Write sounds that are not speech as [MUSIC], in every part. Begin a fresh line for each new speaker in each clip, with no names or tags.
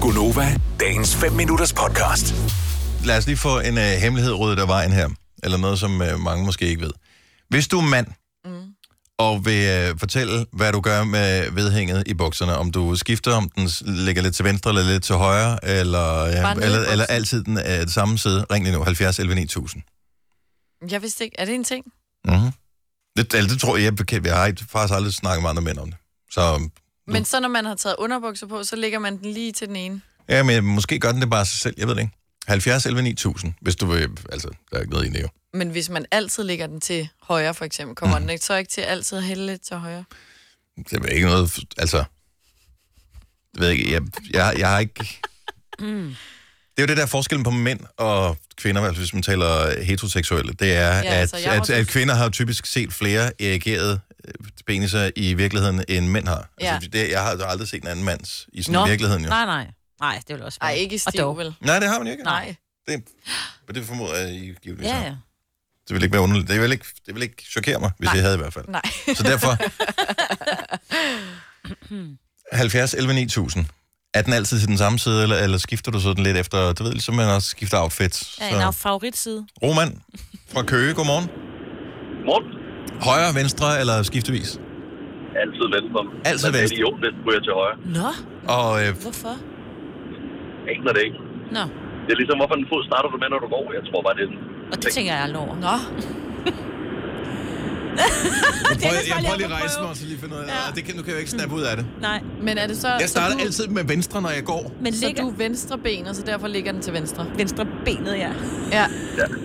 Gunova, dagens 5 minutters podcast.
lad os lige få en øh, hemmelighed ryddet af vejen her, eller noget, som øh, mange måske ikke ved. Hvis du er mand, mm. og vil øh, fortælle, hvad du gør med vedhænget i bukserne, om du skifter, om den s- ligger lidt til venstre eller lidt til højre, eller,
Bare
ja,
ned i
eller,
buksen.
eller altid den er det samme side, ring lige nu, 70 11 9000.
Jeg vidste ikke, er det en ting?
Mm-hmm. Det, eller, det tror jeg, jeg, bekendt, jeg har ikke- faktisk aldrig snakket med andre mænd om det. Så
Men så når man har taget underbukser på, så lægger man den lige til den ene.
ja, men måske gør den det bare sig selv, jeg ved det ikke. 70 11 9000, hvis du vil, altså, der er ikke noget i det jo.
Men hvis man altid lægger den til højre, for eksempel, kommer mm. den ikke, så ikke til altid at hælde lidt til højre.
Det er ikke noget, altså... Jeg ved ikke, jeg, jeg, jeg har ikke... Mm. Det er jo det der forskellen på mænd og kvinder, altså hvis man taler heteroseksuelle, det er, ja, at,
altså, jeg
altså,
er
at,
også-
at kvinder har jo typisk set flere erigerede øh, peniser i virkeligheden, end mænd har.
Ja.
Altså, det, jeg har jo aldrig set en anden mands i sådan
Nå,
i virkeligheden. Jo. Nej.
Nej, nej. Nej, det vil også
Nej,
være-
ikke i
Og
stiv,
dog.
vel?
nej, det har man jo ikke.
Nej.
Det, men det formoder jeg, I givetvis
Ja,
har.
ja.
Det vil ikke være underligt. Det vil ikke, det vil ikke chokere mig, hvis Nej. jeg havde i hvert fald.
Nej. [LAUGHS]
Så derfor... 70, 11, 9000. Er den altid til den samme side, eller, eller skifter du sådan lidt efter... Du ved, ligesom man også skifter outfit.
Ja, en af favoritside.
Roman fra Køge, godmorgen.
Morten.
Højre, venstre eller skiftevis? øh,
Altid venstre.
Altid
Men det er
venstre.
idiot, hvis du ryger til højre.
Nå,
Og øh,
hvorfor?
Ikke når det ikke.
Nå,
Det er ligesom, hvorfor en fod starter du med, når du går. Jeg tror bare, det er sådan.
og det tænker jeg aldrig over.
[LAUGHS]
Nå,
prøv,
jeg prøver lige at prøve.
mig, så lige finde ud af det. Og Det kan, du kan jo ikke snappe ud af det.
Nej,
men er det så... så du,
altid med venstre, når jeg går.
men
Så
ligger
du er venstre ben, og så derfor ligger den til venstre.
venstre benet, ja.
Ja.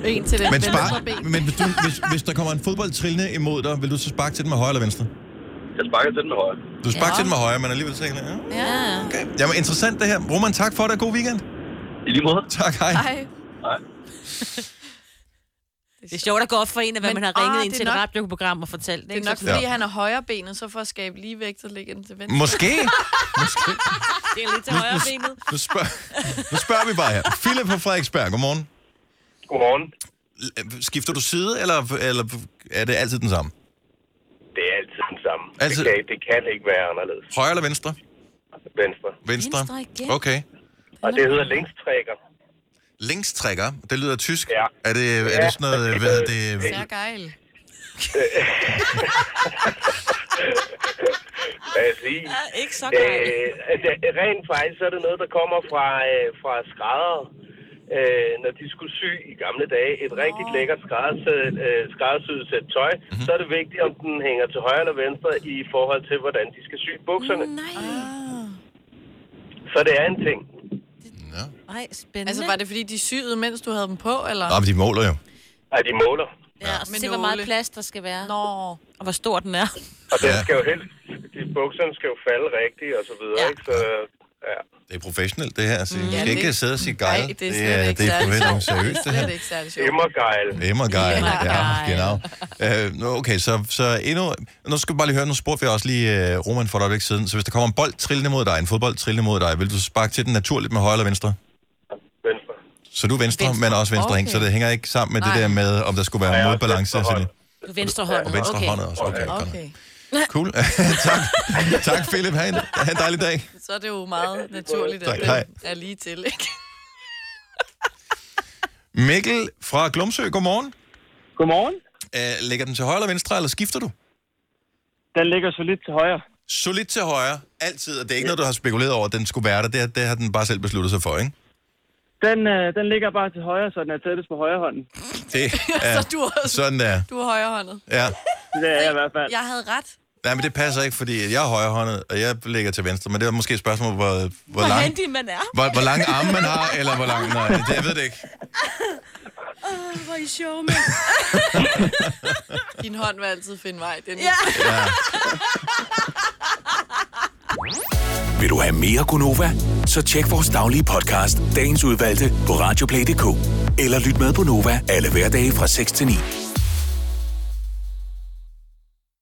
En til den
Men,
venstre
spar,
ben.
men hvis, du, hvis, hvis der kommer en fodbold trillende imod dig, vil du så sparke til den med højre eller venstre?
Jeg sparker til den med højre.
Du sparker
Ja.
til den med højre, men alligevel tænker jeg, ja.
Ja.
Okay. Jamen, interessant det her. Roman, tak for det. God weekend.
I lige måde.
Tak, hej.
Nej.
Nej.
Det er sjovt at gå op for en, at hvad
Men,
man har
ah,
ringet
det
ind
er
til et
nok-
radioprogram og fortalt.
Det er nok,
Så
fordi han er højre benet, så for at skabe ligevægt, så ligger den til venstre.
Måske. Måske.
det er lidt til højre benet.
Nu, spørg, nu spørger vi bare her. Philip fra Frederiksberg, godmorgen.
Godmorgen.
L- Skifter du side, eller, eller er det altid den samme?
Det er altid den samme.
Altid.
Det, kan, det kan ikke være anderledes.
Højre eller venstre?
Venstre.
Venstre.
Venstre igen.
Okay.
Og det hedder linkstrækker.
Linkstrækker, det lyder tysk.
Ja.
Er det, er det sådan noget, hvad er det?
Ja, geil.
Hvad jeg sige?
Ja, ikke så godt.
Øh, det- rent faktisk så er det noget, der kommer fra, øh, fra skrædder. Øh, når de skulle sy i gamle dage et rigtig lækkert skræddersæt, øh, skræddersyet sæt tøj, mm-hmm. så er det vigtigt, om den hænger til højre eller venstre i forhold til, hvordan de skal sy bukserne. Mm.
Nej,
Så det er en ting.
Ja.
nej, spændende.
Altså, var det fordi, de syede, mens du havde dem på, eller?
Nå, men de måler jo.
At de måler.
Ja, og så
Med
se, hvor meget
nåle.
plads der skal være.
Nå.
Og hvor stor den er.
Og den
Ja.
skal jo helst, de bukserne skal jo falde rigtigt og så videre,
Ja.
ja. ikke? Så, øh, ja.
Det er professionelt, det her. Altså, mm.
Ja,
skal
det-
ikke sidde og sige
Nej,
geil.
det er slet ikke
det er
særlig
professionelt
sjovt.
seriøst, det
Det er
her.
det ikke særlig sjovt.
Immergejl.
Emmergeil, ja,
Emmergeil.
genau. Øh, nu, okay, så, så endnu... Nu skal vi bare lige høre, nu spurgte vi også lige øh, Roman for et øjeblik siden. Så hvis der kommer en bold trillende mod dig, en fodbold trillende mod dig, vil du sparke til den naturligt med højre eller venstre?
Venstre.
Så du er venstre, venstre.
Venstre.
men også venstre okay.
Okay.
hæng, så det hænger ikke sammen med Nej. det
Nej.
der med, om der skulle være
Nej,
ja,
også
modbalance.
venstre
Venstre
hånd.
Venstre hånd.
og venstre
okay.
okay. hånd er også. Okay, okay.
Okay.
Cool. [LAUGHS] tak. tak, Philip. Ha' en, ha en dejlig dag.
Så er det jo meget naturligt,
Tak,
at
hej.
den er lige til, ikke?
Mikkel fra Glumsø, godmorgen.
Godmorgen.
Øh, lægger den til højre eller venstre, eller skifter du?
Den ligger så lidt til højre.
Solidt til højre, altid. Og det er ikke noget, du har spekuleret over, at den skulle være der. Det, har- det har den bare selv besluttet sig for, ikke?
Den, øh, den ligger bare til højre, så den er tættest på højre hånden.
Det er
[LAUGHS] Så du er, også,
sådan der.
du er højrehåndet.
Ja.
Det er jeg i hvert fald.
Jeg havde ret.
Nej, men det passer ikke, fordi jeg er højrehåndet, og jeg ligger til venstre. Men det er måske et spørgsmål, hvor, hvor,
Hvor
lang,
handy man er.
hvor, hvor lange arme man har, eller hvor lang... Nej, det, jeg ved det ikke.
Hvor er I sjove, mand.
Din hånd vil altid finde vej. Den
Ja.
Ja.
Vil du have mere Gunova? Så tjek vores daglige podcast, dagens udvalgte, på radioplay.dk. Eller lyt med på Nova alle hverdage fra 6 til 9.